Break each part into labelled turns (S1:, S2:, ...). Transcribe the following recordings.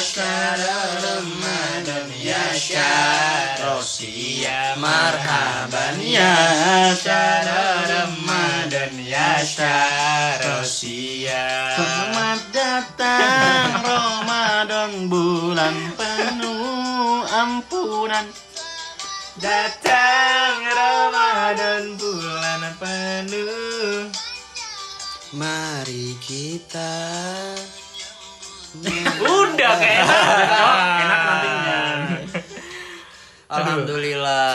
S1: شكر رمضان
S2: Ya
S1: يا شهر يا مرحبا
S2: Ya
S1: يا شهر رمضان يا شهر يا
S2: Selamat datang Ramadan bulan penuh ampunan
S1: Datang Ramadan bulan penuh
S2: Mari kita
S3: Udah kayak
S1: Enak nantinya
S2: Alhamdulillah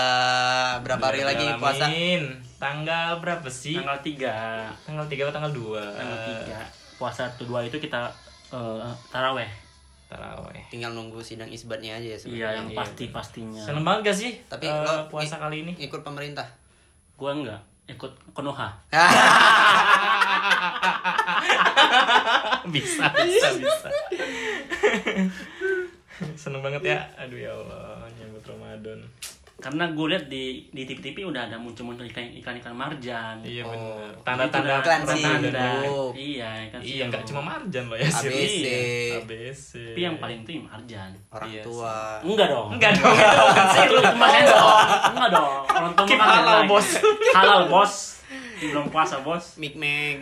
S2: Berapa hari lagi puasa?
S3: Tanggal berapa sih?
S4: tanggal 3
S3: Tanggal 3 atau tanggal 2?
S4: tanggal 3 puasa kedua itu kita eh, taraweh
S3: Taraweh
S2: Tinggal nunggu sidang isbatnya aja ya
S4: iya
S2: sebenarnya.
S4: yang pasti pastinya
S3: Seneng banget gak sih?
S2: Tapi
S3: eh,
S2: lo-
S3: puasa
S2: i-
S3: kali ini
S2: Ikut pemerintah Ah,
S4: gua enggak ikut konoha
S3: bisa bisa bisa seneng banget ya aduh ya allah nyambut ramadan
S4: karena gue lihat di di tv-tv udah ada muncul-muncul ikan ikan ikan marjan
S3: iya
S2: Oh,
S3: bener
S4: Itu
S3: tanda-tanda
S4: udah
S2: Iklan
S3: pertanda.
S2: sibuk.
S4: iya ikan
S3: iya
S4: sirup.
S3: nggak cuma marjan lo ya sih
S2: ABC.
S3: abc
S4: tapi yang paling itu yang marjan
S2: Orang
S3: Iya
S2: tua
S4: enggak dong
S3: enggak dong enggak dong kan sih
S4: itu cuma sensor enggak dong orang tua
S3: Kim
S4: makan
S3: halal,
S4: lain.
S3: bos.
S4: halal bos belum puasa bos
S2: Mik Meg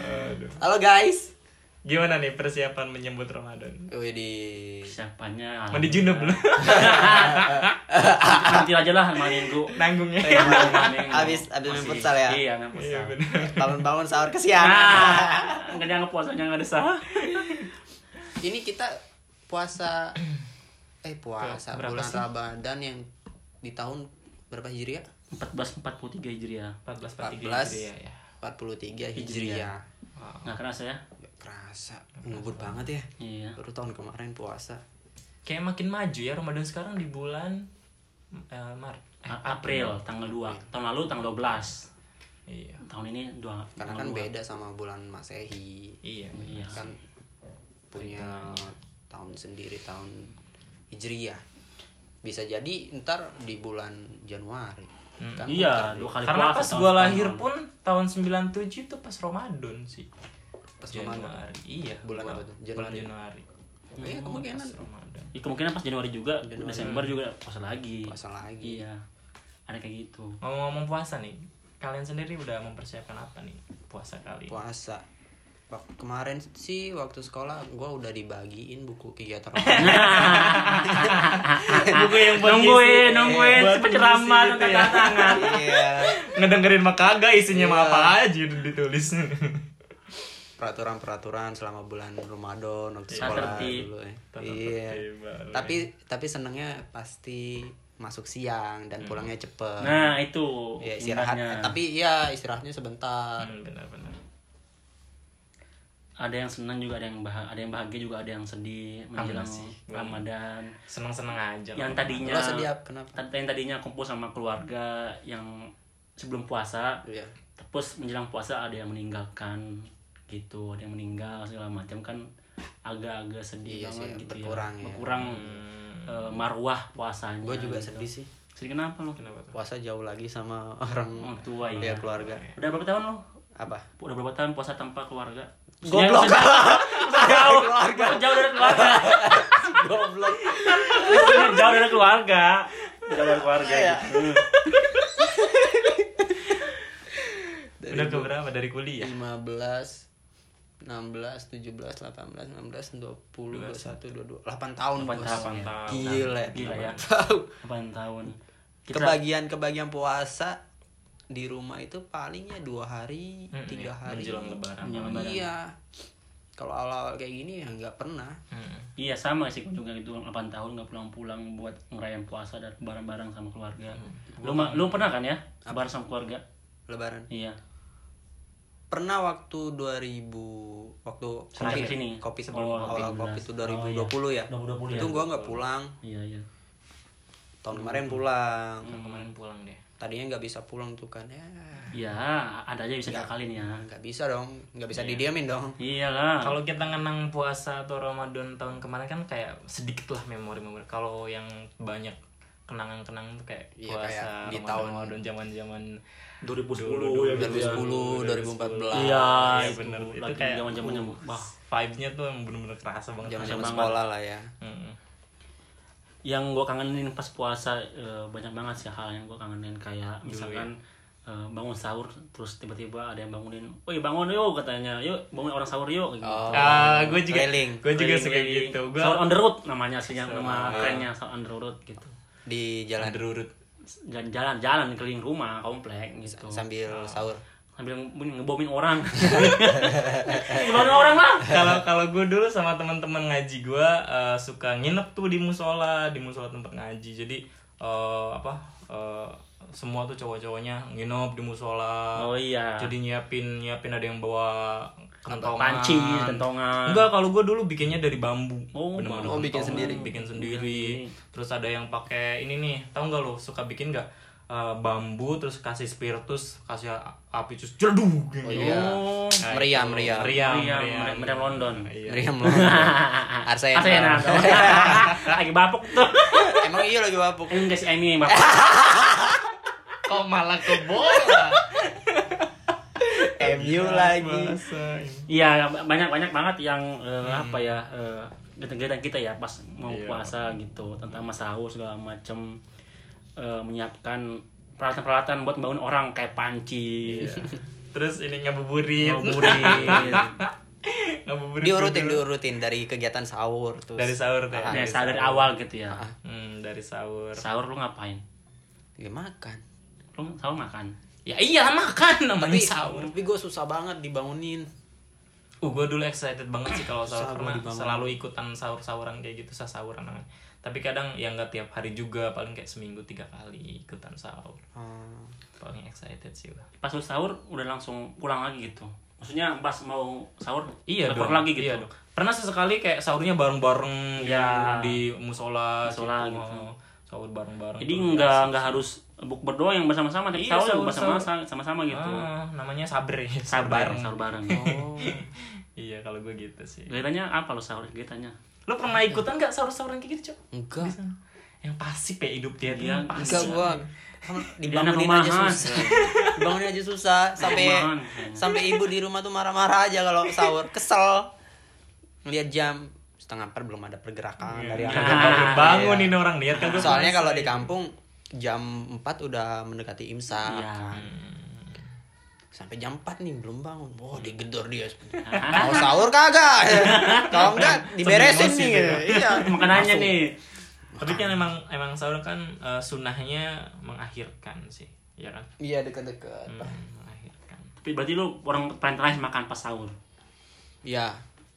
S3: Aduh.
S2: Halo guys
S3: gimana nih persiapan menyambut ramadan
S2: Widih
S4: siapanya
S3: mandi junub lo
S4: Iya. nanti aja lah minggu Iya,
S3: nanggungnya
S2: Eh,
S4: Minggu.
S2: Abis- abis main
S4: Masih-
S2: futsal ya?
S4: iya main futsal
S3: iya bener
S2: Bangun-bangun sahur kesiangan
S4: nah nggak dianggap puasanya nggak ada sah
S2: ini kita puasa eh puasa
S3: Berapa
S2: bulan
S3: sih?
S2: Ramadan yang di tahun berapa Hijriah?
S4: 1443 Hijriah
S3: 14
S2: 14
S3: Hijriah ya
S2: 43 Hijriah.
S4: Hijriah.
S3: Wow.
S4: nggak kerasa ya
S2: Nggak kerasa ngebut banget ya.
S4: iya
S2: Baru tahun kemarin puasa.
S3: kayak makin maju ya Ramadan sekarang di bulan eh, Maret.
S4: A- April tanggal 2 tahun lalu tanggal 12
S3: Iya.
S4: tahun ini dua
S2: Karena kan
S4: tanggal dua.
S2: beda sama bulan Masehi.
S3: Iya.
S4: iya
S2: Kan punya tahun sendiri tahun Hijriah. Bisa jadi ntar di bulan Januari.
S3: Hmm.
S2: Kan
S4: iya
S2: ntar di-
S4: dua kali
S3: Karena
S4: puasa
S3: pas
S4: tahun
S3: gua
S4: sekarang.
S3: lahir pun tahun 97 itu pas Ramadan sih.
S2: pas Ramadan.
S3: Januari. Iya.
S2: Bulan
S3: gua-
S2: apa tuh?
S3: Bulan
S2: Januari.
S3: Januari.
S2: Iya,
S3: Oh,
S2: kemungkinan
S3: pas Ramadan.
S4: Ya, kemungkinan pas Januari juga
S2: Januari.
S4: Desember juga puasa lagi
S2: puasa lagi.
S4: iya ada kayak gitu
S3: Ngomong-ngomong puasa nih, kalian sendiri udah mempersiapkan apa nih puasa kali? ini?
S2: puasa Wak- kemarin sih waktu sekolah gue udah dibagiin buku kegiatan
S3: Buku yang buat
S4: nungguin
S3: ngisi-
S4: nungguin
S3: buat
S4: cepet
S3: ngisi
S4: ceramah
S3: gitu
S4: angkat
S3: ya.
S4: tangan
S2: Iya.
S3: Ngedengerin mah kagak isinya mah
S2: Iya.
S3: apa aja udah ditulis.
S2: peraturan-peraturan selama bulan Ramadan waktu
S4: Iya.
S2: sekolah
S4: Tertib.
S2: dulu ya.
S3: Tata
S2: iya
S3: tertib, baru.
S2: tapi tapi senengnya pasti masuk siang dan pulangnya cepet
S4: Hmm. nah itu
S2: ya istirahat
S4: indahnya.
S2: tapi iya istirahatnya sebentar
S3: Hmm, benar-benar.
S4: ada yang senang juga ada yang bahagia, ada yang bahagia juga ada yang sedih menjelang
S3: sih, gua-
S4: Ramadan
S3: Seneng-seneng aja.
S4: yang
S3: lah.
S4: tadinya
S2: Lo sedih apa? Kenapa?
S4: tad- yang tadinya kumpul sama keluarga yang sebelum puasa
S2: Iya.
S4: terus menjelang puasa ada yang meninggalkan gitu ada yang meninggal segala macam kan agak-agak sedih
S2: Iya
S4: banget
S2: sih,
S4: gitu
S2: berkurang ya.
S4: ya berkurang
S3: Hmm.
S4: eh, marwah puasanya
S2: gue juga
S4: gitu.
S2: sedih sih
S4: sedih kenapa lo
S3: Kenapa tuh?
S2: puasa jauh lagi sama orang
S4: Orang tua,
S2: ya
S4: iya.
S2: keluarga
S4: udah berapa tahun lo
S2: apa
S4: udah berapa tahun puasa tanpa keluarga
S2: Goblok.
S4: Maksudnya- jauh jauh dari keluarga
S2: goblok
S4: Maksudnya jauh dari keluarga jauh dari keluarga
S2: Iya.
S4: gitu
S3: Udah ke berapa dari kuliah?
S2: 15 16 17 18 19 20 21 22 8 tahun
S4: 8
S2: bos.
S4: tahun, ya.
S2: gila
S4: Gila ya.
S2: Tahu.
S4: 8 tahun kita
S2: kebagian kebagian puasa di rumah itu palingnya dua hari
S3: Mm, iya.
S2: tiga hari
S3: Menjelang lebaran.
S4: ya, Menjelang lebaran.
S2: iya kalau awal-awal kayak gini ya nggak pernah
S3: Hmm.
S4: iya sama sih gua juga gitu 8 tahun nggak pulang-pulang buat ngerayain puasa dan bareng-bareng sama keluarga
S3: Hmm.
S4: lu ma- lu pernah kan ya bareng sama keluarga
S2: lebaran
S4: iya
S2: pernah waktu 2000 waktu
S4: Sejak
S2: kopi
S4: sini.
S2: kopi
S4: Oh,
S2: sebelum awal kopi
S4: 18.
S2: itu
S4: Oh,
S2: 2020
S4: iya.
S2: ya
S4: 2020
S2: itu
S4: ya.
S2: gua nggak pulang
S4: iya iya
S2: tahun kemarin pulang
S3: Kemarin pulang deh.
S2: tadinya nggak bisa pulang tuh kan ya
S4: ya ada aja
S3: Iya.
S4: bisa diakalin ya
S2: nggak bisa dong nggak
S4: Iya.
S2: bisa didiamin dong
S4: iyalah
S3: Kalau kita ngenang puasa atau Ramadan tahun kemarin kan kayak sedikit lah memori-memori. Kalau yang banyak kenangan-kenangan tuh kayak
S2: Iya,
S3: puasa
S2: kayak di
S3: Ramadan-
S2: tahun-
S3: Ramadan zaman-zaman
S4: 2010 ya gitu ya.
S2: 2010, 2014.
S4: Iya,
S3: Iya,
S4: itu
S3: bener. Itu
S4: lagi
S3: kayak-
S4: zaman-zaman yang wah,
S3: vibes-nya tuh emang bener-bener kerasa banget. Hmm.
S2: Zaman-zaman
S4: banget.
S2: sekolah lah ya.
S3: Mm-mm.
S4: yang gue kangenin pas puasa eh, banyak banget sih hal yang gue kangenin kayak misalkan eh, bangun sahur terus tiba-tiba ada yang bangunin, woi bangun yuk katanya, yuk bangun orang sahur yuk. Gitu.
S2: Oh.
S3: Ah, gue juga,
S2: Railing.
S3: gue
S4: Keliling-
S3: juga suka
S4: keliling.
S3: gitu. Gue
S4: Sahur on the road namanya aslinya nama kerennya sahur on the road gitu.
S2: Di jalan
S3: berurut.
S4: Jalan-jalan jalan keliling rumah komplek gitu.
S2: sambil sahur.
S4: Sambil nge- ngebomin orang. ngebomin orang lah.
S3: kalau kalau gue dulu sama teman-teman ngaji gue eh, suka nginep tuh di musola di musola tempat ngaji jadi eh, apa eh, semua tuh cowok-cowoknya nginep di musola
S4: Oh iya.
S3: jadi nyiapin nyiapin ada yang bawa kentongan
S4: Panci, kentongan.
S3: enggak kalau gue dulu bikinnya dari bambu
S4: Oh,
S3: Bener-bener
S2: bambu. Oh, bikin
S3: kentongan,
S2: sendiri.
S3: bikin sendiri terus ada yang pakai ini nih tau nggak lo suka bikin nggak Eh, bambu terus kasih spiritus kasih a- api terus jeduk gitu.
S2: iya.
S4: Oh.
S3: Nah,
S2: Meriam,
S3: itu.
S2: meriam.
S3: meriam
S4: Meriam, meriam Iya, London.
S3: Iya.
S2: Meriam loh. Arsena.
S4: Arsena. Lagi bapuk tuh.
S2: Emang iya lagi wapuk.
S4: Enggak sih ini bapuk.
S1: Kok malah ke bola?
S2: MU lagi.
S3: Masa ini.
S4: Iya, banyak-banyak banget yang eh,
S3: Hmm.
S4: apa ya eh, kegiatan kita ya pas mau
S3: Iya.
S4: puasa gitu, tentang sahur segala macem Eh, menyiapkan peralatan-peralatan buat bangun orang kayak panci,
S3: Iya. Terus ini ngabuburit.
S4: ngabuburit,
S3: ngabuburit.
S2: Diurutin,
S3: dulu.
S2: diurutin dari kegiatan sahur terus. Ah,
S3: Dari sahur teh.
S4: ya sahur dari awal gitu ya.
S3: Hmm, dari sahur.
S4: Sahur lu ngapain?
S2: Ya makan.
S4: Lu sahur makan.
S3: Ya iya makan namanya
S2: Tapi
S3: sahur.
S2: Tapi gue susah banget dibangunin.
S3: Uh, gue dulu excited banget sih kalau sahur
S2: Sahur
S3: karena
S2: dibangun.
S3: selalu ikutan sahur-sahuran kayak gitu, sah sahuran. Tapi kadang ya nggak tiap hari juga, paling kayak seminggu tiga kali ikutan sahur.
S2: Hmm.
S3: Paling excited sih gua.
S4: Pas lu sahur udah langsung pulang lagi gitu. Maksudnya pas mau sahur
S3: Iya
S4: telepon
S3: dong.
S4: lagi gitu.
S3: Iya dong. Pernah sesekali kayak sahurnya bareng-bareng
S4: Iya.
S3: di di musola,
S4: Musola
S3: gitu.
S4: gitu.
S3: Oh, Sahur bareng-bareng.
S4: Jadi
S3: Itu
S4: nggak nggak harus bukber doang yang bersama-sama, tapi sahur
S3: Iya,
S4: juga
S3: sahur-
S4: bersama-sama sama-sama gitu.
S3: Ah, Oh. namanya sabre
S4: Sabar,
S3: Sabar.
S4: sahur bareng.
S3: iya kalau gue gitu sih
S4: Kegiatannya apa lu sahur kegiatannya?
S3: lo pernah ikutan nggak sahur-sahuran kayak gitu cok
S2: Enggak.
S3: yang pasif ya hidup dia tuh
S4: Iya,
S3: yang pasif
S2: Enggak gua dibangunin
S4: Dia anak
S2: aja
S4: rumahan.
S2: susah. Dibangunin aja susah sampai
S4: Rumahan, kayaknya.
S2: sampai ibu di rumah tuh marah-marah aja kalau sahur, kesel. Ngeliat jam setengah empat belum ada pergerakan dari
S3: iya.
S2: anak.
S3: Bangun- kan bangun ini orang lihat kan gua
S2: Soalnya kalau di
S3: pasif.
S2: kampung jam 4 udah mendekati imsak
S3: Iya.
S2: kan. Sampai jam 4 nih belum bangun. Wah, digedor dia. Mau sahur kagak? Kalau enggak diberesin
S3: Sambil
S2: nih.
S3: emosi
S2: Iya.
S4: Makanannya
S2: Langsung.
S4: nih.
S3: tapi kan emang emang sahur kan eh, sunahnya mengakhirkan sih ya kan
S2: Iya dekat-dekat.
S3: Hmm, mengakhirkan
S4: Tapi berarti lu orang paling terakhir makan pas sahur.
S2: Iya.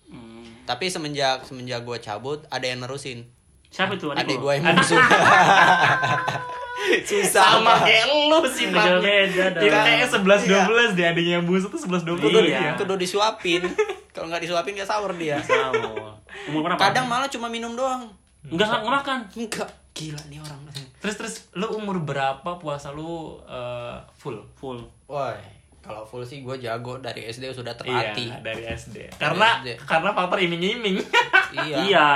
S4: Hmm.
S2: Tapi semenjak semenjak gua cabut ada yang nerusin.
S4: Siapa itu adik,
S2: Adik
S4: lu?
S2: gue yang bungsu. Susah
S3: sama
S2: banget.
S3: kayak lu sih Iya,
S4: Beda-
S3: Bang.
S4: beda dong.
S3: Kita Iya, kayak sebelas dua belas dia adanya yang busuk tuh sebelas dua ya. belas
S4: Iya.
S2: Kudu disuapin. Kalau nggak disuapin nggak sahur dia.
S4: Sahur. Umur berapa?
S2: Kadang malah cuma minum doang.
S4: enggak enggak makan.
S2: Enggak. Gila nih orang.
S3: terus terus lu umur berapa puasa lu eh, full
S4: Full.
S2: Woi, kalau full sih gue jago dari SD sudah terlatih.
S3: Iya, dari SD. Karena
S2: SD.
S3: karena faktor iming-iming.
S2: Iya.
S4: Iya.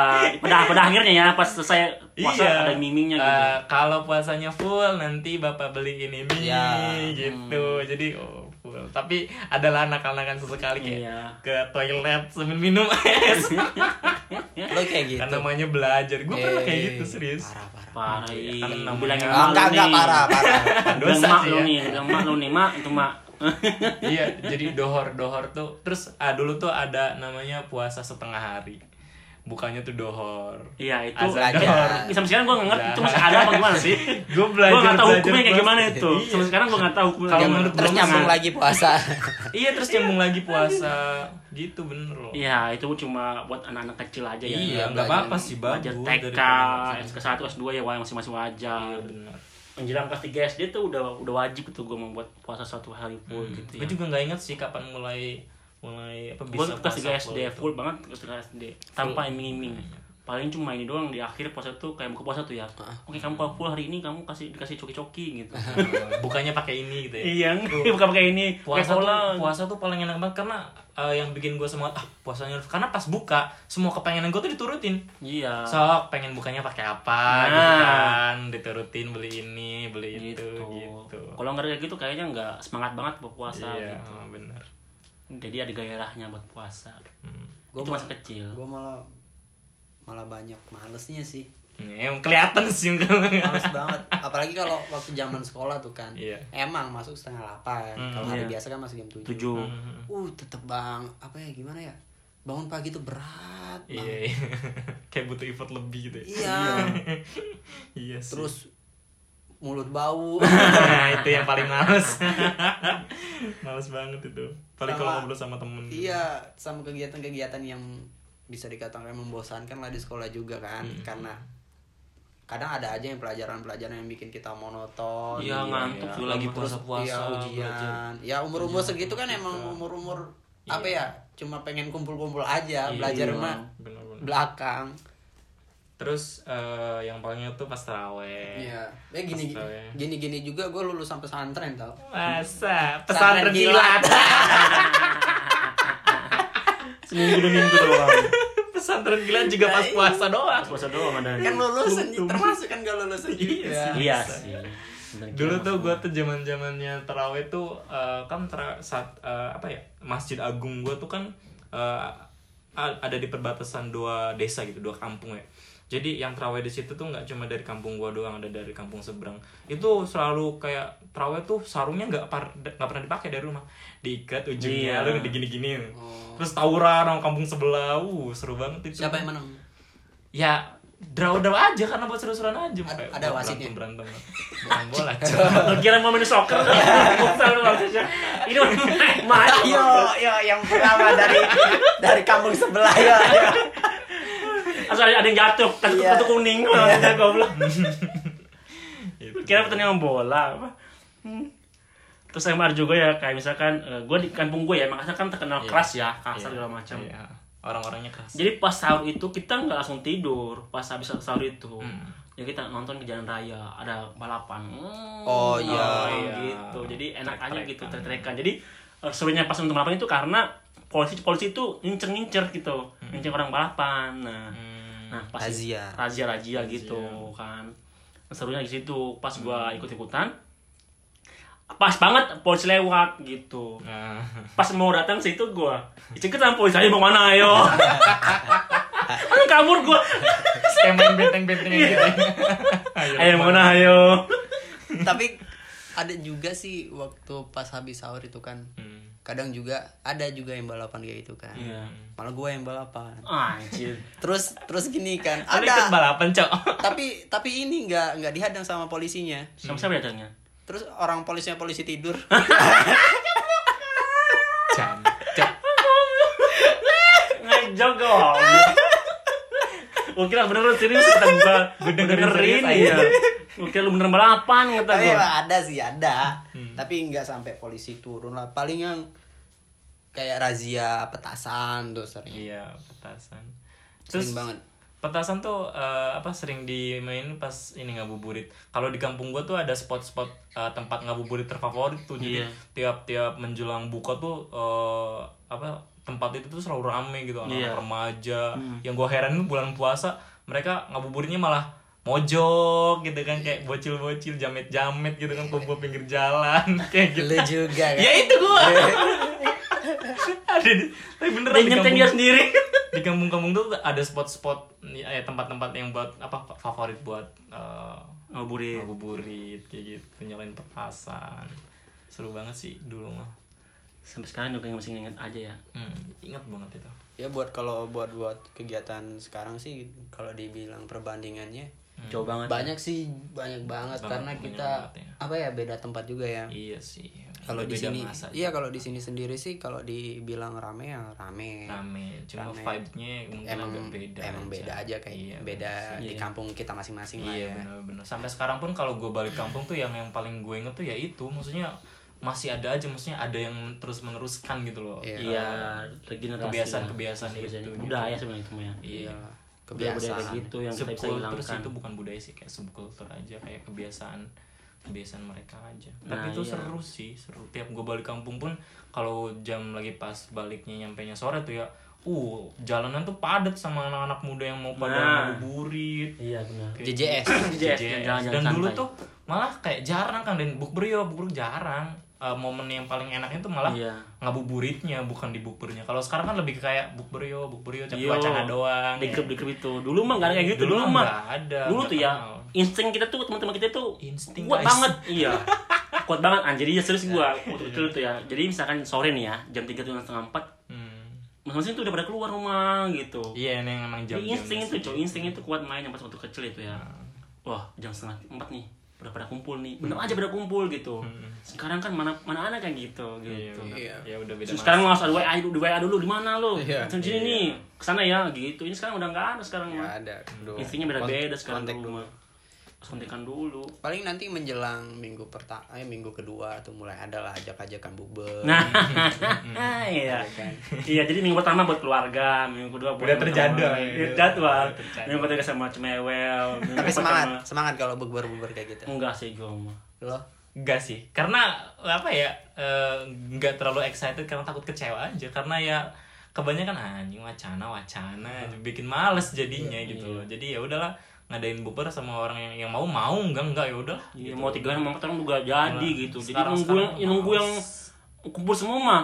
S4: Pada pada akhirnya ya pas selesai puasa
S3: Iya.
S4: ada mimingnya gitu.
S3: Eh, kalau puasanya full nanti Bapak beliin ini
S4: Ya.
S2: Iya.
S4: Hmm.
S3: gitu. Jadi oh, full. Tapi adalah anak-anakan sesekali kayak
S4: Iya. Gitu.
S3: ke toilet sambil minum es.
S4: Ya,
S2: Lo kayak gitu.
S3: kan namanya belajar. Gue pernah kayak
S2: Eh,
S3: gitu serius.
S2: Parah parah.
S4: Parah.
S3: Iya,
S4: ih.
S3: kan namanya-
S4: Bilangin
S2: Ah,
S4: mak
S2: enggak
S4: lu
S2: enggak
S4: nih.
S2: parah parah.
S4: Bilang
S3: Dosa
S4: mak
S3: sih
S4: lu
S3: ya.
S4: nih, bilang mak lu nih, mak itu mak.
S3: iya, jadi dohor-dohor tuh. Terus ah dulu tuh ada namanya puasa setengah hari. Bukannya tuh dohor.
S4: Iya itu.
S3: Azan
S2: Belajar.
S3: dohor.
S4: Tapi Sampai sekarang gue nggak ngerti itu masih ada apa gimana sih?
S3: Gua belajar-
S4: Gue nggak tahu
S3: belajar
S4: hukumnya kayak
S3: puasa.
S4: gimana itu.
S3: Iya.
S4: Sampai sekarang gue nggak tahu hukumnya.
S3: Kalau
S4: kayak
S3: menurut
S4: gimana.
S2: Terus
S3: Belum
S2: nyambung
S3: ada.
S2: lagi puasa.
S3: Iya, terus nyambung lagi puasa. Gitu bener loh.
S4: Iya itu cuma buat anak-anak kecil aja ya.
S3: Iya,
S2: belajar-
S3: nggak apa-apa sih bagus
S4: Belajar
S3: dari Iya,
S4: TK, SK1, S2 ya wah, masing-masing wajar.
S3: benar.
S4: Menjelang kelas 3 SD tuh udah udah wajib tuh gue membuat puasa satu hari full gitu ya.
S3: Gue Hmm. juga nggak inget sih kapan mulai mulai apa
S4: Gue
S3: bisa
S4: kelas
S3: puasa
S4: 3 SD
S3: full. Iya,
S4: full banget kelas 3 SD tanpa iming-iming. paling cuma ini doang di akhir puasa tuh kayak buka puasa tuh ya
S3: Ah.
S4: oke kamu kalau full hari ini kamu kasih dikasih coki-coki gitu
S3: bukannya pakai ini Ah. gitu ya
S4: iya buka pakai ini pakai
S3: puasa
S4: cola
S3: tuh, puasa tuh paling enak banget karena eh, yang bikin gue semangat ah puasanya harus- karena pas buka semua kepengenan gue tuh diturutin
S4: iya
S3: sok pengen bukanya pakai apa
S4: Nah.
S3: gitu kan diturutin beli ini beli itu gitu
S4: kalau nggak ada kayak gitu kayaknya nggak semangat banget buat puasa
S3: iya
S4: gitu.
S3: bener
S4: jadi ada gairahnya buat puasa
S3: Hmm.
S2: Gua
S4: itu
S2: mah-
S4: masih kecil
S2: gue malah malah banyak malesnya sih
S3: Ya, emang kelihatan sih enggak
S2: males banget apalagi kalau waktu zaman sekolah tuh kan
S3: Iya.
S2: emang masuk setengah delapan kalau hari
S4: iya.
S2: biasa kan masuk jam tujuh
S4: tujuh
S3: Hmm.
S2: uh tetep bang apa ya gimana ya bangun pagi tuh berat banget.
S3: iya iya. kayak butuh effort lebih gitu ya
S2: iya
S3: iya sih.
S2: terus mulut bau
S3: nah, itu yang paling males males banget itu paling kalau
S2: Sama-
S3: ngobrol sama temen
S2: iya sama kegiatan-kegiatan yang bisa dikatakan membosankan lah di sekolah juga kan karena kadang ada aja yang pelajaran-pelajaran yang bikin kita monoton
S4: iya ngantuk
S3: iya.
S4: juga
S1: Lagi
S4: Mas.
S1: puasa
S2: Iya,
S1: puasa
S2: ujian. Ya umur-umur segitu kan emang umur-umur apa ya? Cuma pengen kumpul-kumpul aja, belajar mah
S3: bener-bener
S2: belakang.
S3: terus eh, yang palingnya tuh pas teraweh
S2: Iya. Eh gini
S3: Pas tau ya.
S2: gini-gini juga gue lulusan pesantren tau.
S3: masa pesan
S2: Pesantren
S3: terkilat
S4: seminggu dua minggu doang
S3: pesan terkilat juga pas
S2: Nah,
S3: puasa doang
S4: Ah, puasa doang ada
S2: Kan lulusan termasuk kan gak lulusan juga.
S4: iya sih Bener,
S3: dulu
S4: gila,
S3: tuh
S4: Mas.
S3: gue tuh zaman zamannya teraweh tuh eh, kan tera- saat eh, apa ya masjid agung gue tuh kan eh, a- ada di perbatasan dua desa gitu dua kampung ya jadi yang teraweh di situ tuh nggak cuma dari kampung gue doang ada dari kampung seberang itu selalu kayak teraweh tuh sarungnya nggak par nggak pernah dipakai dari rumah diikat ujungnya
S4: Iya.
S3: lalu digini-giniin terus tawuran sama kampung sebelah uh seru banget itu
S2: Oh. Siapa yang menang?
S3: ya draw draw aja karena buat seru-seruan aja
S2: Ada-
S3: Kayak
S2: ada ya? wasitnya?
S3: berantem berantem bukan bola kan? coba
S4: Lu kira mau main soccer Futsal lu maksudnya. Ini mau main- main
S2: Yo, yo yang pertama dari dari kampung sebelah yo. yo.
S4: Asal ada ada yang jatuh Kartu,
S2: Iya.
S4: kartu kuning Ada goblok
S3: Gitu.
S4: Kira pertandingan bola apa? Hmm. Terus MR juga ya kayak misalkan Gue di kampung gue ya Makassar kan terkenal keras ya Kasar segala macam
S3: Iya. orang-orangnya keras
S4: Jadi pas sahur itu kita nggak langsung tidur Pas habis sahur itu
S3: Hmm.
S4: Ya kita nonton ke jalan raya Ada balapan Hmm,
S2: Oh, iya.
S3: iya.
S4: Gitu Jadi enak aja
S3: Trek-trekan.
S4: gitu Trek-trekan Jadi eh, serunya pas nonton balapan itu karena Polisi polisi itu ngincer-ngincer gitu Ngincer orang balapan Nah,
S3: Hmm.
S4: nah pas
S2: Razia.
S4: Razia-razia gitu kan Serunya di situ Pas gua ikut-ikutan Pas banget polisi lewat gitu
S3: nah
S4: pas mau datang situ gue dicekit sama polisi ayo mau mana ayo ayo kabur gue
S3: kayak main benteng-benteng gitu
S4: Iya.
S3: Iya, Hmm.
S4: ayo mau mana ayo
S2: Tapi ada juga sih waktu pas habis sahur itu kan. Kadang juga ada juga yang balapan kayak gitu kan.
S3: Iya.
S2: malah gue yang balapan
S4: anjir
S2: terus terus gini kan
S3: ada ikut
S2: ada
S3: balapan cok
S2: tapi tapi ini nggak nggak dihadang sama polisinya
S4: sama siapa datangnya
S2: terus orang polisinya polisi tidur
S3: Jan cok
S4: ngejok dong gue kira beneran serius kata gue gue dengerin ya gue kira lu beneran balapan kata
S2: tapi
S4: gue
S2: emang ada sih ada
S3: Hmm.
S2: tapi nggak sampai polisi turun lah paling yang kayak razia petasan tuh sering
S3: iya petasan
S2: sering banget
S3: petasan tuh eh, apa sering dimainin pas ini ngabuburit. Kalau di kampung gua tuh ada spot-spot eh, tempat ngabuburit terfavorit tuh. Jadi
S4: Iya.
S3: tiap-tiap menjelang buka tuh eh, apa tempat itu tuh selalu rame gitu anak
S4: Iya.
S3: remaja.
S2: Hmm.
S3: Yang gua heran tuh bulan puasa mereka ngabuburitnya malah mojok gitu kan kayak bocil-bocil jamet-jamet gitu kan kumpul pinggir jalan kayak gitu.
S2: Lu juga kan
S3: ya itu gua. ada di, tapi beneran
S4: dia
S3: di
S4: nyeting
S3: kampung-
S4: dia sendiri
S3: di kampung-kampung tuh ada spot-spot ya tempat-tempat yang buat apa favorit buat eh,
S4: ngaburin
S3: ngabuburit kayak gitu nyalain petasan seru banget sih dulu mah
S4: sampai sekarang juga masih nginget aja ya
S3: hmm, ingat banget itu
S2: ya buat kalau buat buat kegiatan sekarang sih kalau dibilang perbandingannya
S4: jauh banget
S2: banyak sih banyak banget
S3: Banyak,
S2: karena
S3: banyak
S2: kita
S3: banget ya.
S2: apa ya beda tempat juga ya
S3: iya sih
S2: kalau di
S3: Beda
S2: sini
S3: masa
S2: iya kalau di sini sendiri sih kalau dibilang rame ya rame
S3: rame cuma vibe-nya mungkin
S2: emang
S3: agak beda
S2: emang beda aja kayak
S3: Iya,
S2: beda di kampung kita masing-masing lah
S3: iya
S2: ya
S3: benar-benar sampai sekarang pun kalau gue balik kampung tuh yang yang paling gue inget tuh ya itu maksudnya masih ada aja maksudnya ada yang terus meneruskan gitu loh
S2: Iya.
S4: iya regenerasi
S3: kebiasaan-kebiasaan gitu itu
S4: budaya sebenarnya itu mah ya
S3: Iya.
S4: budaya-budaya kayak
S2: Kebiasaan.
S4: gitu yang kita bisa
S3: subkultur sih
S4: hilangkan
S3: itu bukan budaya sih kayak subkultur aja kayak kebiasaan kebiasaan mereka aja tapi
S4: Nah,
S3: itu
S4: iya.
S3: seru sih seru tiap gue balik kampung pun kalau jam lagi pas baliknya nyampe sore tuh ya uh jalanan tuh padat sama anak-anak muda yang mau pada
S4: Nah.
S3: ngabuburit
S4: iya benar
S3: Kayak gitu.
S2: JJS.
S4: JJS,
S3: JJS.
S4: jalan-jalan
S3: dan dulu
S4: santai.
S3: tuh malah kayak jarang kan dan bukber ya bukber jarang Eh, momen yang paling enaknya tuh malah
S4: iya
S3: ngabuburitnya bukan di bukbernya kalau sekarang kan lebih kayak bukber yo bukber yo cek
S4: Yo.
S3: wacana doang ya.
S4: di grup di grup itu dulu mah nggak ada kayak Iya. gitu
S3: Dulu
S4: dulu,
S3: mah
S4: mah
S3: nggak ada,
S4: dulu
S3: nggak
S4: tuh ya
S3: kenal.
S4: insting kita tuh teman-teman kita tuh
S3: Insting,
S4: kuat
S3: guys.
S4: banget iya kuat banget anjir iya serius gua waktu dulu tuh ya jadi misalkan sore nih ya jam tiga tuh setengah empat
S3: Hmm.
S4: masing-masing tuh udah pada keluar rumah gitu
S3: Iya, ini yang emang jam
S4: Jadi
S3: Iya.
S4: insting itu cow insting itu kuat main yang pas waktu kecil itu ya wah jam setengah empat nih udah pada kumpul nih bener aja pada kumpul gitu sekarang kan mana mana ada kayak gitu
S3: Hmm. Iya,
S4: gitu
S3: udah-
S2: Iya.
S3: ya udah beda.
S4: Terus sekarang harus ada WA dulu, di WA dulu di mana lo?
S2: Iya.
S4: Macam sini nih, kesana ya gitu. Ini sekarang udah nggak ada sekarang
S3: Iya,
S2: Nggak
S4: mah.
S2: ada. Dulu.
S4: Intinya beda-beda sekarang
S2: kontak
S4: dulu. mah. Harus kontekan dulu.
S2: Paling nanti menjelang minggu pertama, eh, minggu kedua tuh mulai ada lah ajak-ajakan bukber.
S4: Nah, iya. iya, jadi minggu pertama buat keluarga, minggu kedua buat
S3: Udah
S4: teman-teman.
S3: terjadwal.
S4: Iya, jadwal.
S3: Udah terjadwal.
S4: Minggu ketiga sama cemewel. minggu
S2: Tapi
S4: keempat
S2: semangat,
S4: sama-
S2: semangat kalau bukber-bukber kayak gitu.
S4: Enggak sih gue mah.
S2: Loh,
S3: Enggak sih. Karena apa ya? eh, Enggak terlalu excited karena takut kecewa aja karena ya kebanyakan "Ah, anjing wacana wacana
S4: Hmm.
S3: bikin males jadinya
S4: Iya,
S3: gitu loh. Jadi ya udahlah ngadain bukber sama orang yang yang mau mau enggak enggak ya udah.
S4: Iya,
S2: Gitu.
S4: mau tiga orang, mau empat orang juga jadi
S3: Nah,
S4: gitu. Jadi
S3: sekarang-
S4: nunggu yang
S3: sekarang
S4: nunggu yang
S3: males.
S4: kumpul semua mah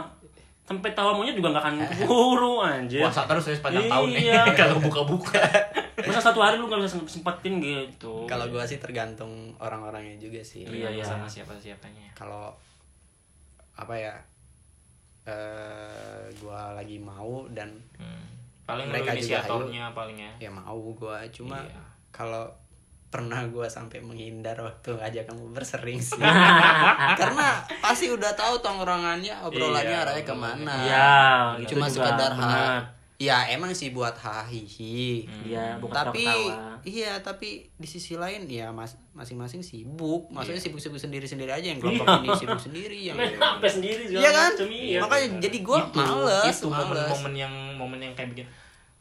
S4: sampai tahun maunya juga nggak akan keburu anjir.
S3: Puasa terus ya sepanjang tahun nih
S4: Iya.
S3: kalau buka-buka.
S4: Masa satu hari lu gak bisa sempetin gitu
S2: kalau gua sih tergantung orang-orangnya juga sih.
S4: Iya, iya.
S3: sama siapa-siapanya.
S2: Kalau apa ya? Eh, gua lagi mau dan
S3: Hmm. Paling lu
S2: Mereka juga
S3: inisiatornya paling ya.
S2: ya mau gua cuma
S3: Iya.
S2: kalau pernah gua sampai menghindar waktu ajakan bukber sering sih karena pasti udah tahu tongkrongannya obrolannya
S3: Iya,
S2: arahnya
S3: obrolannya.
S2: kemana
S4: Iya, gitu
S2: cuma
S4: juga,
S2: sekedar
S4: benar.
S2: hal ya emang sih buat hahihi
S4: Iya, bukan
S2: tapi
S4: ketawa-ketawa.
S2: iya tapi di sisi lain ya mas masing-masing sibuk maksudnya
S3: Iya.
S2: sibuk-sibuk sendiri-sendiri aja yang kelompok ini sibuk sendiri yang
S4: Main HP sendiri segala
S2: Iya kan?
S4: macam, iya.
S2: Makanya jadi gue
S3: Itu-
S2: males,
S3: itu
S2: males.
S3: momen-momen yang momen yang kayak bikin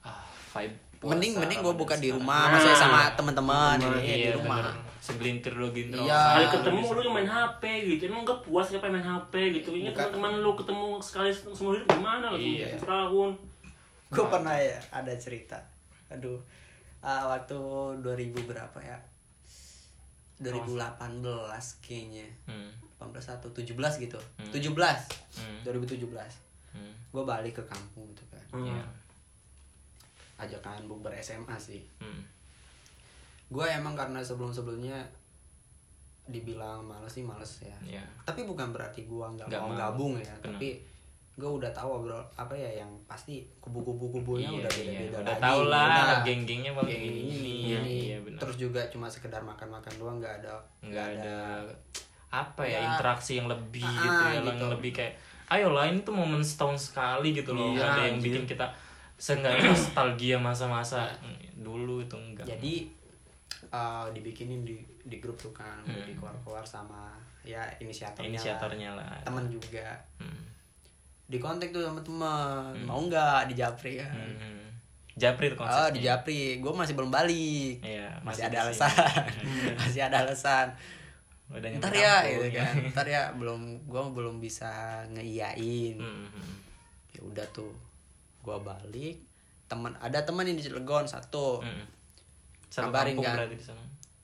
S3: ah vibe puasa,
S2: Mending mending gue
S3: Ramadan
S2: buka di
S3: sekarang.
S2: rumah,
S4: Nah.
S2: maksudnya sama teman-teman ini
S3: iya,
S2: di rumah.
S3: bener. segelintir lo gitu
S2: Iya.
S4: Kali
S2: Ah,
S4: ketemu lu main HP gitu, emang gak puas siapa yang main HP gitu. Ini teman lu ketemu sekali semua hidup gimana lu iya.
S3: Iya.
S4: setahun.
S2: gue pernah ya ada cerita aduh ah, waktu 2000 berapa ya 2018 kayaknya
S3: Hmm,
S2: 18 atau 17 gitu 17 2017
S3: hmm,
S2: gue balik ke kampung gitu kan
S4: Hmm.
S3: iya,
S2: ajakan bukber SMA sih
S3: hmm,
S2: gue emang karena sebelum sebelumnya dibilang males sih males ya
S3: iya.
S2: tapi bukan berarti gua nggak
S3: Nggak
S2: mau
S3: mau.
S2: gabung ya
S3: Benar.
S2: tapi gua udah tahu obrol apa ya yang pasti kubu-kubu kubunya
S3: Iya,
S2: udah
S3: iya.
S2: beda-beda
S3: udah
S2: lagi.
S3: tau lah
S2: Nah,
S3: geng-gengnya paling
S2: geng ini,
S3: ini
S2: ini.
S3: iya benar
S2: terus juga cuma sekedar makan-makan doang nggak ada
S3: nggak ada apa ya,
S2: Ya.
S3: interaksi yang lebih
S2: Ah,
S3: gitu ya
S2: gitu.
S3: yang lebih kayak ayo lah ini tuh momen setahun sekali gitu
S4: Iya,
S3: loh nggak ada yang
S4: anjir.
S3: bikin kita seenggaknya nostalgia masa-masa dulu itu enggak
S2: jadi eh, dibikinin di di grup tuh kan udah dikeluar-keluar sama ya inisiatornya, lah.
S3: Hmm. inisiatornya lah
S2: temen juga
S3: Hmm.
S2: di kontak tuh sama temen mau nggak di Japri kan
S3: Mhm. Japri tuh
S2: Oh, di
S3: konsepnya.
S2: Japri, gue masih belum balik.
S3: Iya,
S2: masih,
S3: masih
S2: ada
S3: di sini. Iya.
S2: alasan, masih ada alasan.
S3: Udah nyampe
S2: Ntar ya,
S3: kampung,
S2: gitu
S3: ya.
S2: kan. Ntar ya, belum, gue belum bisa ngeiyain.
S3: Mhm.
S2: Ya udah tuh, gue balik. Temen, ada temen yang di Cilegon satu.
S3: Mhm. Satu
S2: Kabarin,
S3: kampung
S2: kan?
S3: berarti di sana.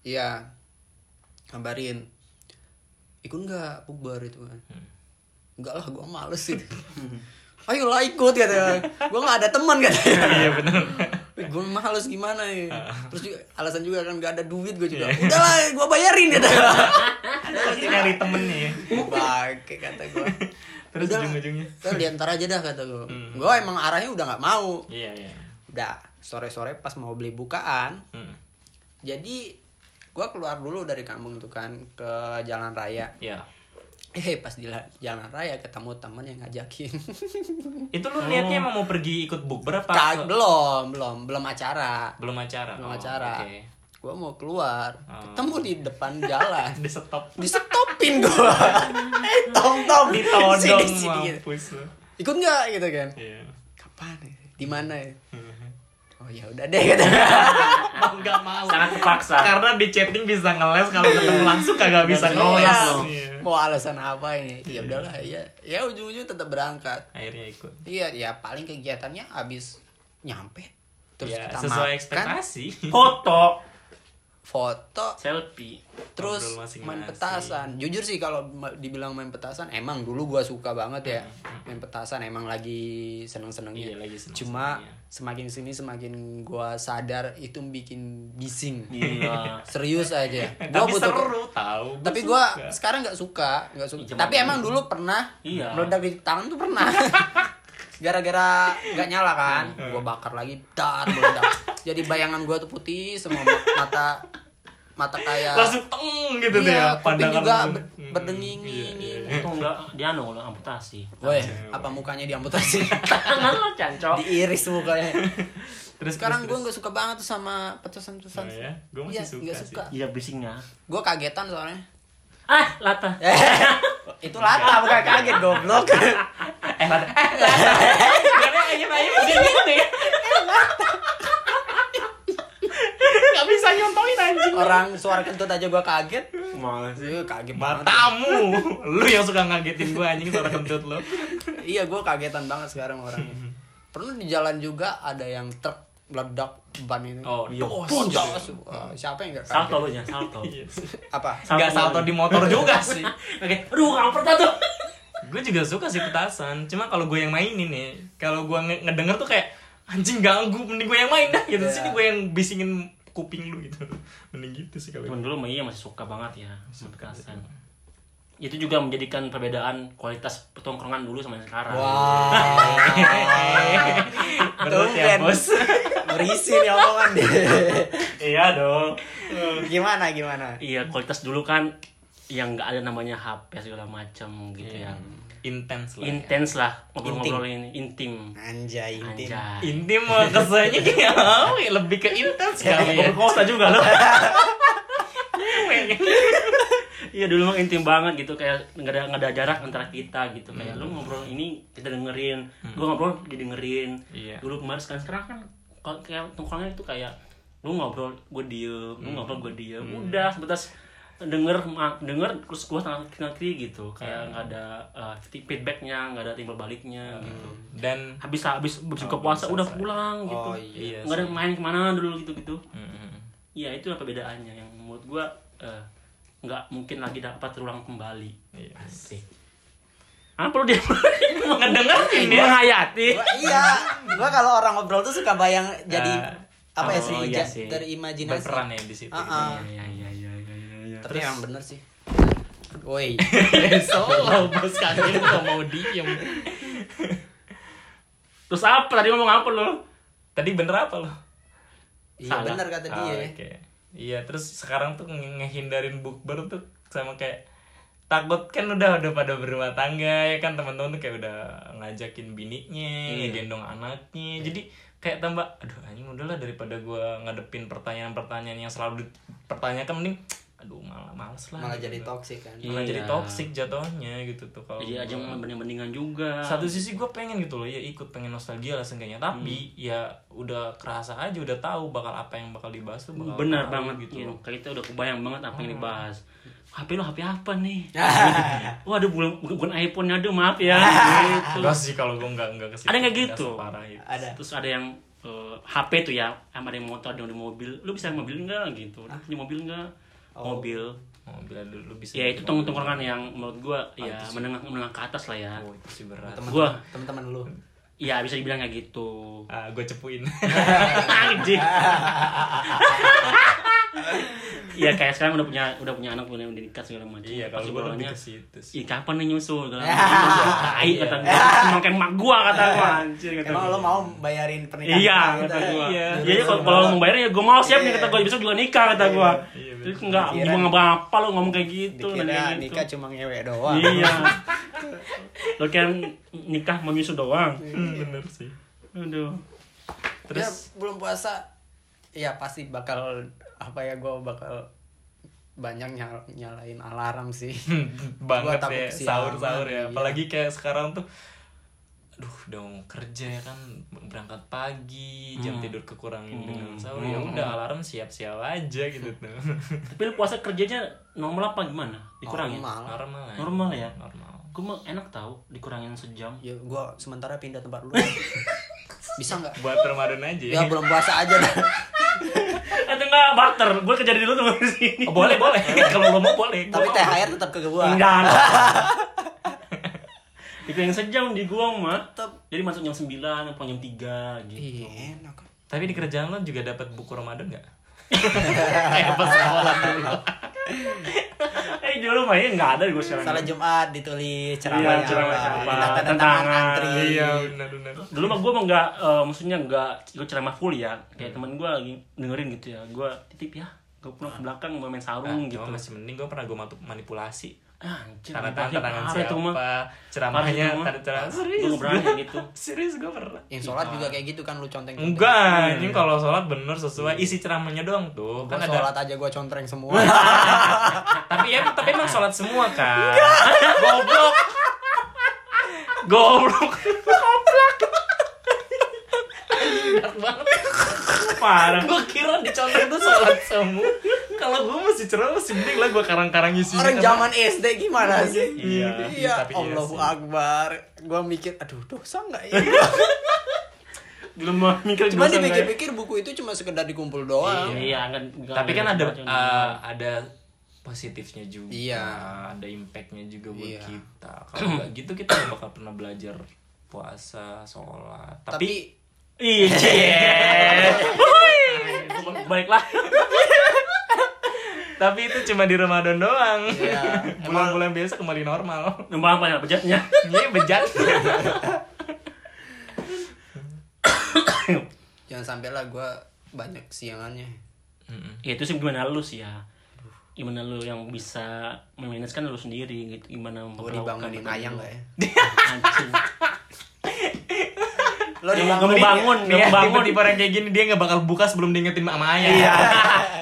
S2: Iya, kabarin. Ikut nggak puber itu kan?
S3: Hmm.
S2: Enggak lah, gue males sih. Ayo lah ikut katanya. Gue nggak ada teman katanya.
S3: Iya benar.
S2: gue males gimana ya
S3: Ah.
S2: terus juga alasan juga kan gak ada duit gue juga
S3: Iya.
S2: udahlah gue bayarin ya
S3: Kan Pasti
S2: Iya.
S3: nyari temennya ya.
S2: bangke kata gue
S3: Terus ujung-ujungnya. Hmm.
S2: terus diantar aja dah kata gue gue emang arahnya udah nggak mau
S3: Iya iya.
S2: udah sore sore pas mau beli bukaan
S3: Hmm.
S2: jadi gue keluar dulu dari kampung tuh kan ke jalan raya
S3: Iya.
S2: eh pas di la- jalan raya ketemu temen yang ngajakin
S3: Itu lu
S2: Oh.
S3: niatnya emang mau pergi ikut bukber apa?
S2: Kag- belum belum belum acara
S3: Belum acara.
S2: belum
S3: Oh,
S2: acara
S3: oke. Oh.
S2: gue mau keluar ketemu di depan jalan
S3: Di stop.
S2: di stopin gua eh tong tong
S3: Ditodong
S2: Sini, sini.
S3: mampus lu.
S2: ikut nggak gitu kan
S3: Iya.
S2: kapan ya? di mana ya oh ya udah deh kata
S1: mau nggak mau
S4: Hmm. sangat terpaksa
S3: Karena di chatting bisa ngeles kalau
S2: Iya.
S3: ketemu langsung kagak
S4: bisa
S3: bisa
S4: ngeles.
S3: ngeles. Iya.
S2: mau alasan apa ini ya udahlah ya ya ujung-ujung tetap berangkat
S3: Akhirnya ikut.
S2: iya ya paling kegiatannya habis nyampe terus
S3: ya,
S2: kita
S3: sesuai
S2: makan
S3: ekspektasi.
S4: foto
S2: foto
S4: selfie
S2: terus
S3: Ngobrol masing-masing.
S2: main petasan jujur sih kalau ma- dibilang main petasan emang dulu gua suka banget ya main petasan emang lagi seneng
S3: Hmm,
S2: senengnya
S3: Iya, lagi seneng-senengnya.
S2: cuma semakin sini semakin gua sadar itu bikin bising
S4: gila
S2: serius aja gua
S3: Tapi
S2: butuh
S3: seru tahu. Gua
S2: tapi gua
S3: suka.
S2: sekarang nggak suka nggak suka
S4: Iya,
S2: tapi
S4: cuman-
S2: emang dulu pernah
S4: Iya.
S2: meledak di tangan tuh pernah gara-gara nggak nyala kan
S3: Iya.
S2: gua bakar lagi dar meledak jadi bayangan gua tuh putih semua mata mata kayak
S3: langsung teng gitu deh ya,
S2: Iya, kuping
S3: pandangan
S2: juga
S3: langsung.
S2: ber-
S3: Mm,
S2: berdenging-nginging.
S3: iya, iya.
S4: itu enggak dia anu lo amputasi
S2: Woi, apa mukanya diamputasi?
S4: tangan lo cancok
S2: Diiris mukanya.
S3: Terus
S2: Sekarang
S3: terus,
S2: gua nggak suka banget tuh sama
S3: Oh
S2: petasan-petasan.
S3: ya? Gua masih
S2: Iya,
S3: suka
S2: nggak
S3: sih.
S2: suka.
S4: iya bisingnya
S2: Gua kagetan soalnya.
S4: ah lata
S2: itu lata bukan kaget goblok.
S3: terus. eh lada eh lada ayam ayam
S4: Iya,
S3: udah gitu ya nggak bisa nyontolin anjing
S2: Orang suara kentut aja gua kaget.
S4: Males.
S2: Eh, kaget banget.
S3: matamu lu yang suka ngagetin gua anjing suara kentut lu
S2: Iya, gua kagetan banget sekarang orangnya. Pernah di jalan juga ada yang truk meledak ban itu.
S3: oh iya
S2: Oh, jos. Wah, siapa yang gak kaget?
S4: salto lo nya salto
S2: Apa?
S3: nggak salto di motor juga sih
S4: oke aduh kamu pernah tuh
S3: gue juga suka sih petasan cuma kalau gue yang mainin nih kalau gue nge- ngedenger tuh kayak anjing ganggu mending gue yang main dah gitu
S2: Iya.
S3: sini gue yang bisingin kuping lu gitu mending gitu sih kalau
S4: Cuman dulu mah iya masih suka banget ya sama petasan. Itu juga menjadikan perbedaan kualitas pertongkrongan dulu sama yang sekarang.
S2: Wah.
S3: Berat ya
S2: Tumben.
S3: bos
S2: Berisi nih omongan
S3: Iya dong
S2: Gimana gimana?
S4: Iya, kualitas dulu kan yang nggak ada namanya HP segala macam gitu ya.
S3: Iya. Intens lah ya.
S4: Intens lah ngobrol-ngobrol ini, intim.
S2: Anjay, intim.
S4: Anjay.
S3: Intim mah kesannya kayak apa ya, lebih ke intens kali ya
S4: kosa juga lo. Iya dulu mah intim banget gitu kayak nggak ada nggak ada jarak antara kita gitu kayak lu ngobrol ini kita dengerin, gua ngobrol didengerin.
S3: Iya.
S4: Dulu kemarin sekarang sekarang kan kalau kayak tongkrongan itu kayak lu ngobrol gue diem, lu ngobrol gue diem, udah sebatas denger ma- denger terus gua tangan kanan kiri gitu kayak nggak ada uh, feedbacknya nggak ada timbal baliknya gitu
S3: Dan
S4: habis habis berbuka puasa udah pulang gitu
S2: Oh,
S3: iya
S4: nggak ada main kemana dulu gitu gitu
S3: Mm-mm.
S4: ya itulah perbedaannya yang menurut gua eh, nggak mungkin lagi dapat terulang kembali
S3: Iya.
S4: sih apa lu dia
S3: Ngedengerin ya?
S4: menghayati
S2: Gua- iya, gua kalau orang ngobrol tuh suka bayang jadi
S3: Ah,
S2: apa
S4: oh,
S2: ya sih,
S4: iya
S2: ja-
S4: sih.
S2: dari imajinasi.
S3: Berperan ya di situ
S2: Ah, ah.
S4: ya ya ya ya ya, ya.
S2: Tapi yang bener sih. Woi,
S3: Solo bos kaki lu gak mau diem
S4: terus apa tadi ngomong apa lu
S3: Tadi bener apa lo?
S2: iya
S4: Salah.
S2: bener kata
S3: Ah,
S2: dia.
S3: oke. Iya terus sekarang tuh nge- ngehindarin bukber tuh sama kayak takut kan udah udah pada berumah tangga ya kan teman-teman tuh kayak udah ngajakin bininya,
S2: Iya.
S3: ngegendong anaknya. Jadi kayak tambah aduh anjing udahlah daripada gua ngadepin pertanyaan-pertanyaan yang selalu dipertanyakan mending aduh malah males lah.
S2: Malah
S3: gitu.
S2: jadi toksik kan.
S3: malah
S4: Iya.
S3: jadi toksik jatuhnya gitu tuh kalau
S4: jadi aja
S3: gua-
S4: mending-mendingan Iya, juga
S3: satu sisi gue pengen gitu loh ya ikut pengen nostalgia lah seenggaknya tapi
S4: Hmm.
S3: ya udah kerasa aja udah tahu bakal apa yang bakal dibahas tuh bakal
S4: benar
S3: tahu
S4: banget Hmm.
S3: gitu
S4: gitu
S3: loh.
S4: kayak kita udah kebayang banget apa yang dibahas HP lo HP apa nih Waduh, bukan, bukan iPhone aduh maaf ya gitu.
S3: enggak sih kalau gue enggak enggak kesini
S4: Ada nggak gitu?
S3: parah itu
S2: Ada.
S4: terus ada yang eh, HP tuh ya ada yang motor ada yang di mobil lu bisa mobil nggak gitu Lu punya mobil nggak mobil
S3: oh, bila dulu bisa
S4: ya itu
S3: gitu.
S4: tong tongkrongan yang menurut gua ya menengah menengah ke atas lah ya
S3: oh, itu sih berat
S4: gua
S2: Teman-teman lu.
S4: ya bisa dibilang kayak gitu
S3: ah gue cepuin
S4: anjing ya kayak sekarang udah punya udah punya anak udah udah nikah segala macam
S3: iya
S4: Pas
S3: kalau gue lebih
S4: obrolannya,
S3: ke situ sih
S4: Ih kapan nih nyusul segala macam Tai kata gua
S3: Iya.
S4: Emang kayak emak gua kata gua Anjir kata
S2: Emang
S4: gua.
S2: lu mau bayarin pernikahan
S4: Iya
S2: kita
S4: kata
S2: gitu?
S4: gua
S3: Iya.
S4: Iya iya, kalau kalau lu mau bayar ya gua mau siap nih
S2: Iya.
S4: kata gua Besok juga nikah kata gua
S3: Iya, betul.
S4: Terus enggak
S2: Dikira-
S4: gimana apa lu ngomong kayak gitu dan kayak
S2: Dikira
S4: gitu.
S2: nikah cuma ngewek doang.
S4: Iya Lu kan nikah mau nyusul doang
S3: Hmm, bener sih
S4: Aduh
S2: Terus belum puasa ya pasti bakal apa ya gua bakal banyak nyal- nyalain alarm sih.
S3: banget
S2: takut
S3: ya sahur
S2: kesiangan,
S3: sahur ya
S2: iya.
S3: apalagi kayak sekarang tuh duh udah mau kerja ya kan berangkat pagi
S4: Hmm.
S3: jam tidur kekurangin dengan sahur ya udah alarm siap-siap aja gitu tuh
S4: Tapi lu puasa kerjanya normal apa gimana? Dikurangin?
S2: Normal.
S3: normal lah
S4: Normal ya?
S3: normal
S4: Gue mah enak tau, dikurangin sejam.
S2: Ya gua sementara pindah tempat lu. Bisa nggak?
S3: buat Ramadan aja ya,
S2: Ya belum puasa aja dah.
S4: Atau enggak barter, gue kerja di lu tuh di sini.
S3: Oh, boleh boleh kalau lo mau boleh
S2: Tapi THR tetap ke gua.
S4: Enggak. lah. dikurangin sejam di gua mah.
S2: Tetap.
S4: Jadi masuk jam 9, pulang jam 3 gitu.
S2: Iya, enak.
S3: tapi di kerjaan lo juga dapat buku Ramadan nggak
S4: eh dulu mah ya nggak ada gue sekarang.
S2: Salah Jumat ditulis
S4: Iya,
S2: ceramahnya.
S4: ceramahnya
S2: apa,
S4: apa, tantangan.
S2: tentang tantangan antri.
S3: Ah, iya, benar benar
S4: dulu mah gue mah nggak eh, maksudnya nggak gue ceramah full ya
S2: Hmm.
S4: kayak teman gue lagi dengerin gitu ya gue titip ya gue pulang ke
S2: Ah.
S4: belakang mau main sarung
S3: gitu.
S4: gitu
S2: oh,
S3: masih mending gue pernah gue manipulasi
S4: ah anjir
S3: tanda
S4: parah
S3: tangan tanda tangan
S4: itu mah
S3: siapa
S4: Parah
S3: ceramahnya
S4: itu mah.
S3: tanda tangan
S4: gue
S3: serius
S4: nggak berani kayak gitu
S3: serius gue pernah
S2: Yang sholat juga kayak gitu kan lu conteng.
S4: Iya.
S3: enggak ini kalau sholat bener sesuai isi ceramahnya doang tuh
S2: Gua
S3: kan ada
S2: sholat aja gua contreng semua.
S3: tapi ya tapi emang sholat semua kan goblok goblok
S4: parah
S3: gue kira di contoh itu sholat semua kalau gue masih cerah masih mending lah gue karang-karang isinya kan?
S2: Orang
S3: sama-
S2: zaman SD gimana sih?
S3: Iya,
S2: iya
S3: tapi iya sih.
S2: Allahu Akbar. Gua mikir, aduh dosa nggak ya?
S4: belum mau mikir
S2: Cuma
S4: dosa nggak ya?
S2: dipikir-pikir buku itu cuma sekedar dikumpul doang.
S4: iya kan nggak
S3: tapi kan ada
S4: cuma-
S2: ah,
S3: uh, ada positifnya juga
S2: Iya.
S3: ada impactnya juga buat
S2: Iya.
S3: kita kalau nggak gitu kita nggak bakal pernah belajar puasa sholat tapi,
S2: Tapi
S4: iya cie. Wuhui. Gua balik- balik lah
S3: tapi itu cuma di Ramadan doang
S2: Iya.
S3: bulan-bulan biasa kembali normal
S4: nomor apa ya bejatnya
S3: ini bejat
S2: jangan sampai lah gua banyak siangannya.
S4: ya itu sih gimana lu sih ya gimana lu yang bisa memanage kan lu sendiri gitu gimana
S2: Gua
S4: memperlakukan
S2: Oh, dibangunin
S4: teman
S2: ayang
S4: lu.
S2: nggak ya?
S4: Anjing.
S2: Lo
S4: Yang
S2: dibangunin
S4: mau bangun.
S2: ya?
S4: Iya,
S3: Iya,
S4: bangun.
S3: tipe-tipe orang kayak gini dia nggak bakal buka sebelum diingetin sama ayah. Iya.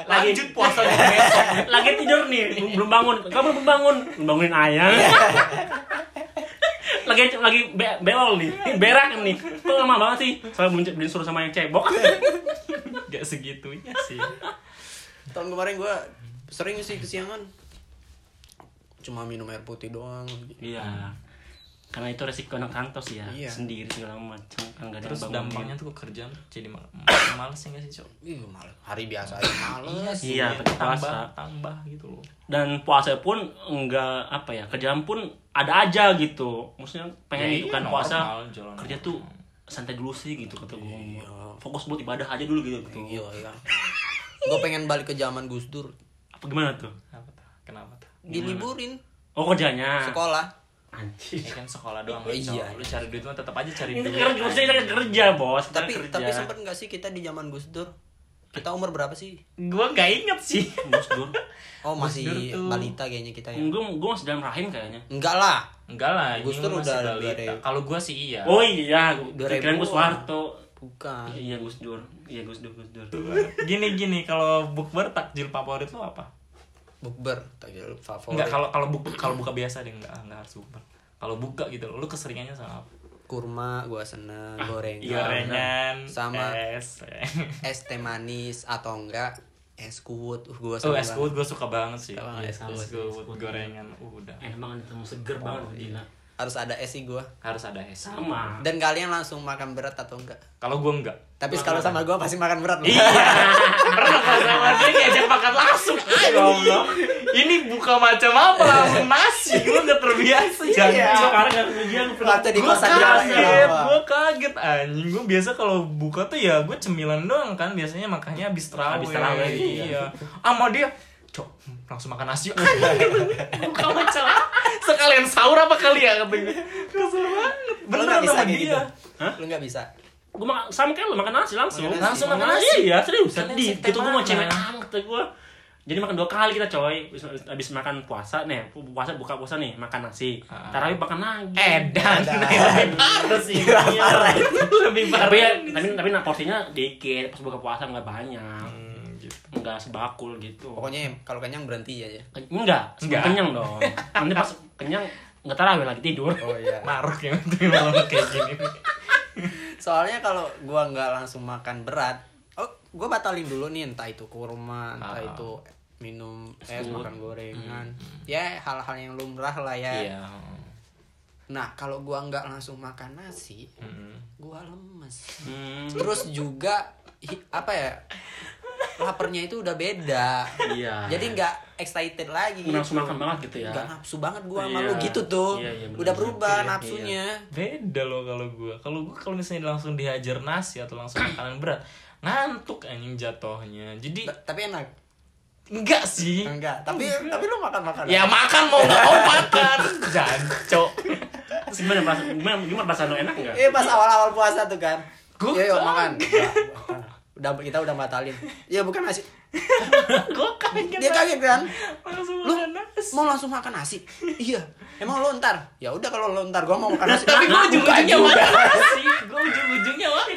S3: Lanjut puasa di besok.
S4: lagi tidur nih belum bangun kamu belum bangun bangunin ayah lagi lagi be- belol nih Ini berak nih kok lama banget sih soalnya belum belum suruh sama yang cebok
S3: Gak segitunya sih.
S2: Tahun kemarin gua sering sih kesiangan. Cuma minum air putih doang.
S4: iya karena itu resiko anak kantos ya
S2: Iya.
S4: sendiri segala macam kan gak ada
S3: Terus
S4: yang bangunin.
S3: dampaknya tuh ke kerjaan tuh jadi mal- males ya nggak sih, Cok?
S2: Ih, males. Hari biasa aja males.
S4: iya
S3: Jadi
S4: pakai
S3: tambah,
S4: puasa
S3: tambah gitu loh.
S4: dan puasa pun enggak apa ya kerjaan pun ada aja gitu maksudnya pengen
S3: Ya,
S4: itu
S3: iya,
S4: kan
S3: normal, Iya.
S4: puasa
S3: jalan
S4: kerja
S3: normal.
S4: tuh santai dulu sih gitu kata gue fokus buat ibadah aja dulu gitu, gitu.
S2: Gila ya. Gua pengen balik ke zaman Gus Dur.
S4: apa gimana tuh
S3: Kenapa tuh? Kenapa tuh?
S2: Diliburin
S4: oh kerjanya
S2: sekolah.
S4: anjir
S3: Ya kan sekolah doang lu,
S2: Iya.
S3: Cok. Lu cari duit mah tetap aja
S4: ini
S3: cari duit.
S4: kerja maksudnya kita kerja bos
S3: Kan
S4: kita
S2: Tapi
S4: kerja.
S2: tapi sempet nggak sih kita di zaman Gus Dur? Kita umur berapa sih?
S3: Gua nggak inget sih.
S4: bos gue
S2: Oh masih
S3: Dur tuh-
S2: balita kayaknya kita ya.
S4: gue gue masih dalam rahim kayaknya
S2: Enggak lah.
S3: Enggak lah,
S2: Gus Dur
S3: ini masih
S2: udah- udah
S3: balita.
S2: ada-
S3: Kalau gua sih iya.
S4: oh iya
S2: Dua ribu.
S4: keren gue Soeharto
S2: Bukan.
S4: iya Gus Dur iya Gus Dur Gus Dur
S3: Gini-gini kalau bukber takjil favorit lu apa?
S2: Bukber takjil favorit.
S3: Enggak kalau kalau buka kalau buka biasa deh enggak enggak harus bukber. Kalau buka gitu loh, lu keseringannya sama apa?
S2: kurma gua seneng, gorengan.
S3: Ah, iya, Gorengan,
S2: Sama-
S3: es. eh.
S2: Es teh manis atau enggak es kuwut. Uh, gua
S3: Oh,
S2: seneng
S3: es
S2: banget.
S3: kuwut gue suka banget sih.
S2: Suka banget es kuwut.
S3: Es kuwut gorengan uh, udah.
S4: Eh, emang itu seger banget
S2: Oh, iya.
S4: gila
S2: Harus ada es sih gua.
S3: Harus ada es.
S4: sama
S2: Dan kalian langsung makan berat atau enggak?
S3: Kalau gue enggak.
S2: Tapi kalau sama gua pasti makan berat. loh.
S3: Iya, Pernah kalau sama dia diajak makan langsung. Allah. Ini buka macam apa langsung nasi. Gue enggak terbiasa.
S2: Iya.
S3: Jangan.
S4: sekarang gak kerja gue pernah
S2: Latte di
S3: Gue
S2: kosan jalan.
S3: kaget,
S2: kenapa?
S3: gue kaget anjing Gue biasa kalau buka tuh ya gue cemilan doang kan Biasanya makannya abis terawih
S4: Abis terawih, iya.
S3: Iya Sama dia Cok, langsung makan nasi yuk." Buka macam Sekalian sahur apa kali ya kata gue Kesel banget
S2: Lu
S3: Beneran
S2: nggak bisa
S3: sama
S2: kayak gitu.
S3: dia
S4: Hah?
S2: Lu nggak bisa.
S4: gue makan sama kayak lo makan nasi langsung
S2: Makan nasi.
S3: Langsung makan nasi.
S4: iya serius
S3: Kan
S4: sedih
S3: nasi
S4: gitu gue mau
S3: teman.
S4: cewek amat kata gue jadi makan dua kali kita coy abis, abis makan puasa nih puasa buka puasa nih makan nasi
S3: Ah.
S4: tarawih makan lagi
S2: Eh,
S3: Edan Lebih parah sih Iya. Lebih parah
S4: tapi ya tapi tapi nah, porsinya dikit pas buka puasa nggak banyak
S3: Hmm, gitu.
S4: nggak sebakul gitu
S2: Pokoknya kalau kenyang berhenti aja.
S4: Ken- enggak sebelum
S3: Enggak.
S4: kenyang dong nanti pas kenyang nggak tarawih lagi tidur
S2: oh iya
S3: maruk ya penting malam kayak gini
S2: soalnya kalau gua nggak langsung makan berat oh gua batalin dulu nih entah itu kurma
S3: Ah.
S2: entah itu minum es
S4: Food.
S2: makan gorengan
S4: Hmm,
S2: ya hal-hal yang lumrah lah ya
S3: iya
S2: nah kalau gua nggak langsung makan nasi
S3: Mm-mm.
S2: gua lemes
S4: Hmm,
S2: terus juga hi- apa ya laparnya itu udah beda
S4: iya
S2: jadi nggak excited lagi
S4: Nggak langsung makan banget gitu ya
S2: nggak nafsu banget gua sama
S4: Iya.
S2: lu gitu tuh
S4: Iya, iya, bener.
S2: udah berubah
S4: Iya,
S2: nafsunya
S3: beda loh kalau gua kalau gua kalau misalnya langsung dihajar nasi atau langsung makanan berat ngantuk anjing jatuhnya jadi
S2: Ta- tapi enak
S3: enggak
S4: Iya.
S3: sih
S2: enggak tapi tapi lu makan makan
S3: ya makan mau nggak mau makan jancok
S4: Terus gimana perasaan gimana, gimana perasaan lo enak nggak
S2: Iya pas awal-awal puasa tuh kan.
S3: Gua
S2: Yuk, yuk
S3: kan.
S2: makan. Udah kita udah batalin. Ya bukan nasi.
S3: gua kaget
S2: Dia kaget kan?
S3: langsung
S2: Lu
S3: makan nasi
S2: mau langsung makan nasi? Iya. Emang lu ntar? Ya udah kalau lu ntar gua mau makan nasi.
S3: tapi gue
S2: Nah, bukan
S3: ujung-ujungnya
S2: juga.
S3: makan nasi gue ujung-ujungnya makan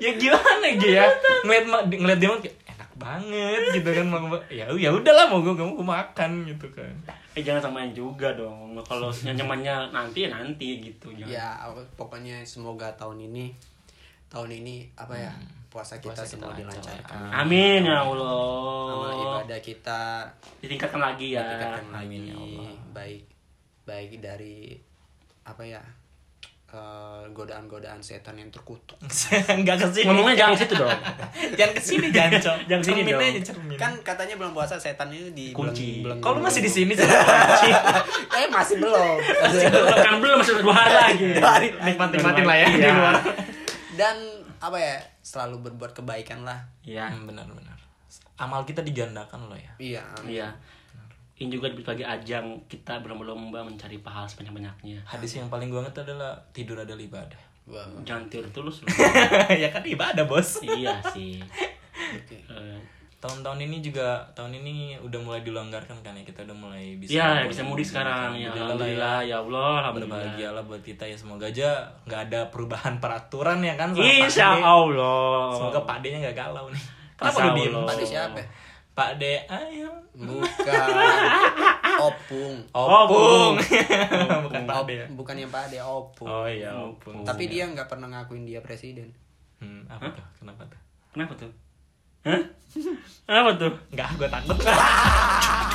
S3: ya gimana gitu ya ngeliat ma- di- ngeliat dia makan kayak, enak banget gitu kan mau gua- ya ya udahlah mau gue mau gua makan gitu kan
S4: eh jangan samain juga dong kalau nyamannya nanti ya nanti gitu jangan
S2: Ya pokoknya semoga tahun ini tahun ini apa ya? Puasa kita
S3: Puasa kita
S2: semua
S3: lancar. Ah.
S2: dilancarkan.
S4: amin ya
S2: Sama
S4: allah
S2: ibadah kita
S4: ditingkatkan lagi ya
S2: ditingkatkan lagi
S3: amin, ya Allah.
S2: baik baik dari apa ya? eh, godaan-godaan setan yang terkutuk
S3: nggak kesini
S4: ngomongnya jangan situ dong
S3: jangan kesini jancok
S4: Jangan kesini
S3: cermin
S4: dong.
S3: aja cermin
S2: kan katanya belum puasa setan itu di
S4: Kunci.
S2: belum- belum-
S3: kalau masih di
S2: belum-
S3: sini sih
S2: eh masih belum
S4: kan belum masih dua hari lagi
S2: Dua hari lagi.
S3: nikmat nikmatin lah ya di
S4: Iya.
S3: luar
S2: dan apa ya selalu berbuat kebaikan lah
S4: iya
S3: benar benar Ya, amal kita digandakan loh ya
S2: iya amin.
S4: iya ini juga sebagai ajang kita berlomba-lomba mencari pahala sebanyak-banyaknya
S3: hadis yang paling gue ngerti adalah tidur adalah ibadah
S2: Wah,
S4: jangan tidur tulus lu.
S3: ya kan ibadah bos
S4: iya sih
S2: oke.
S4: Eh,
S3: tahun-tahun ini juga tahun ini udah mulai dilonggarkan kan ya kita udah mulai bisa
S4: Iya, bisa mudik sekarang. Ya,
S3: alhamdulillah
S4: alhamdulillah, ya Allah,
S3: ya.
S4: alhamdulillah.
S3: berbahagialah buat kita ya semoga aja nggak ada perubahan peraturan ya kan sama Pak
S4: Insya
S3: D.
S4: Allah.
S3: semoga Pak D nya nggak galau nih kenapa
S4: Insya
S3: lu diem
S4: Allah.
S2: Tadi siapa ya?
S3: Pak D ayo
S2: bukan opung
S3: Oh. opung
S4: Opung.
S3: bukan Pak
S2: Op-
S3: D ya
S2: bukan yang pak ade opung
S3: oh iya
S4: Opung.
S3: opung
S2: tapi dia nggak pernah ngakuin dia presiden
S3: hmm, apa tuh kenapa tuh
S4: Kenapa tuh? Hah? Kenapa tuh?
S3: nggak gue takut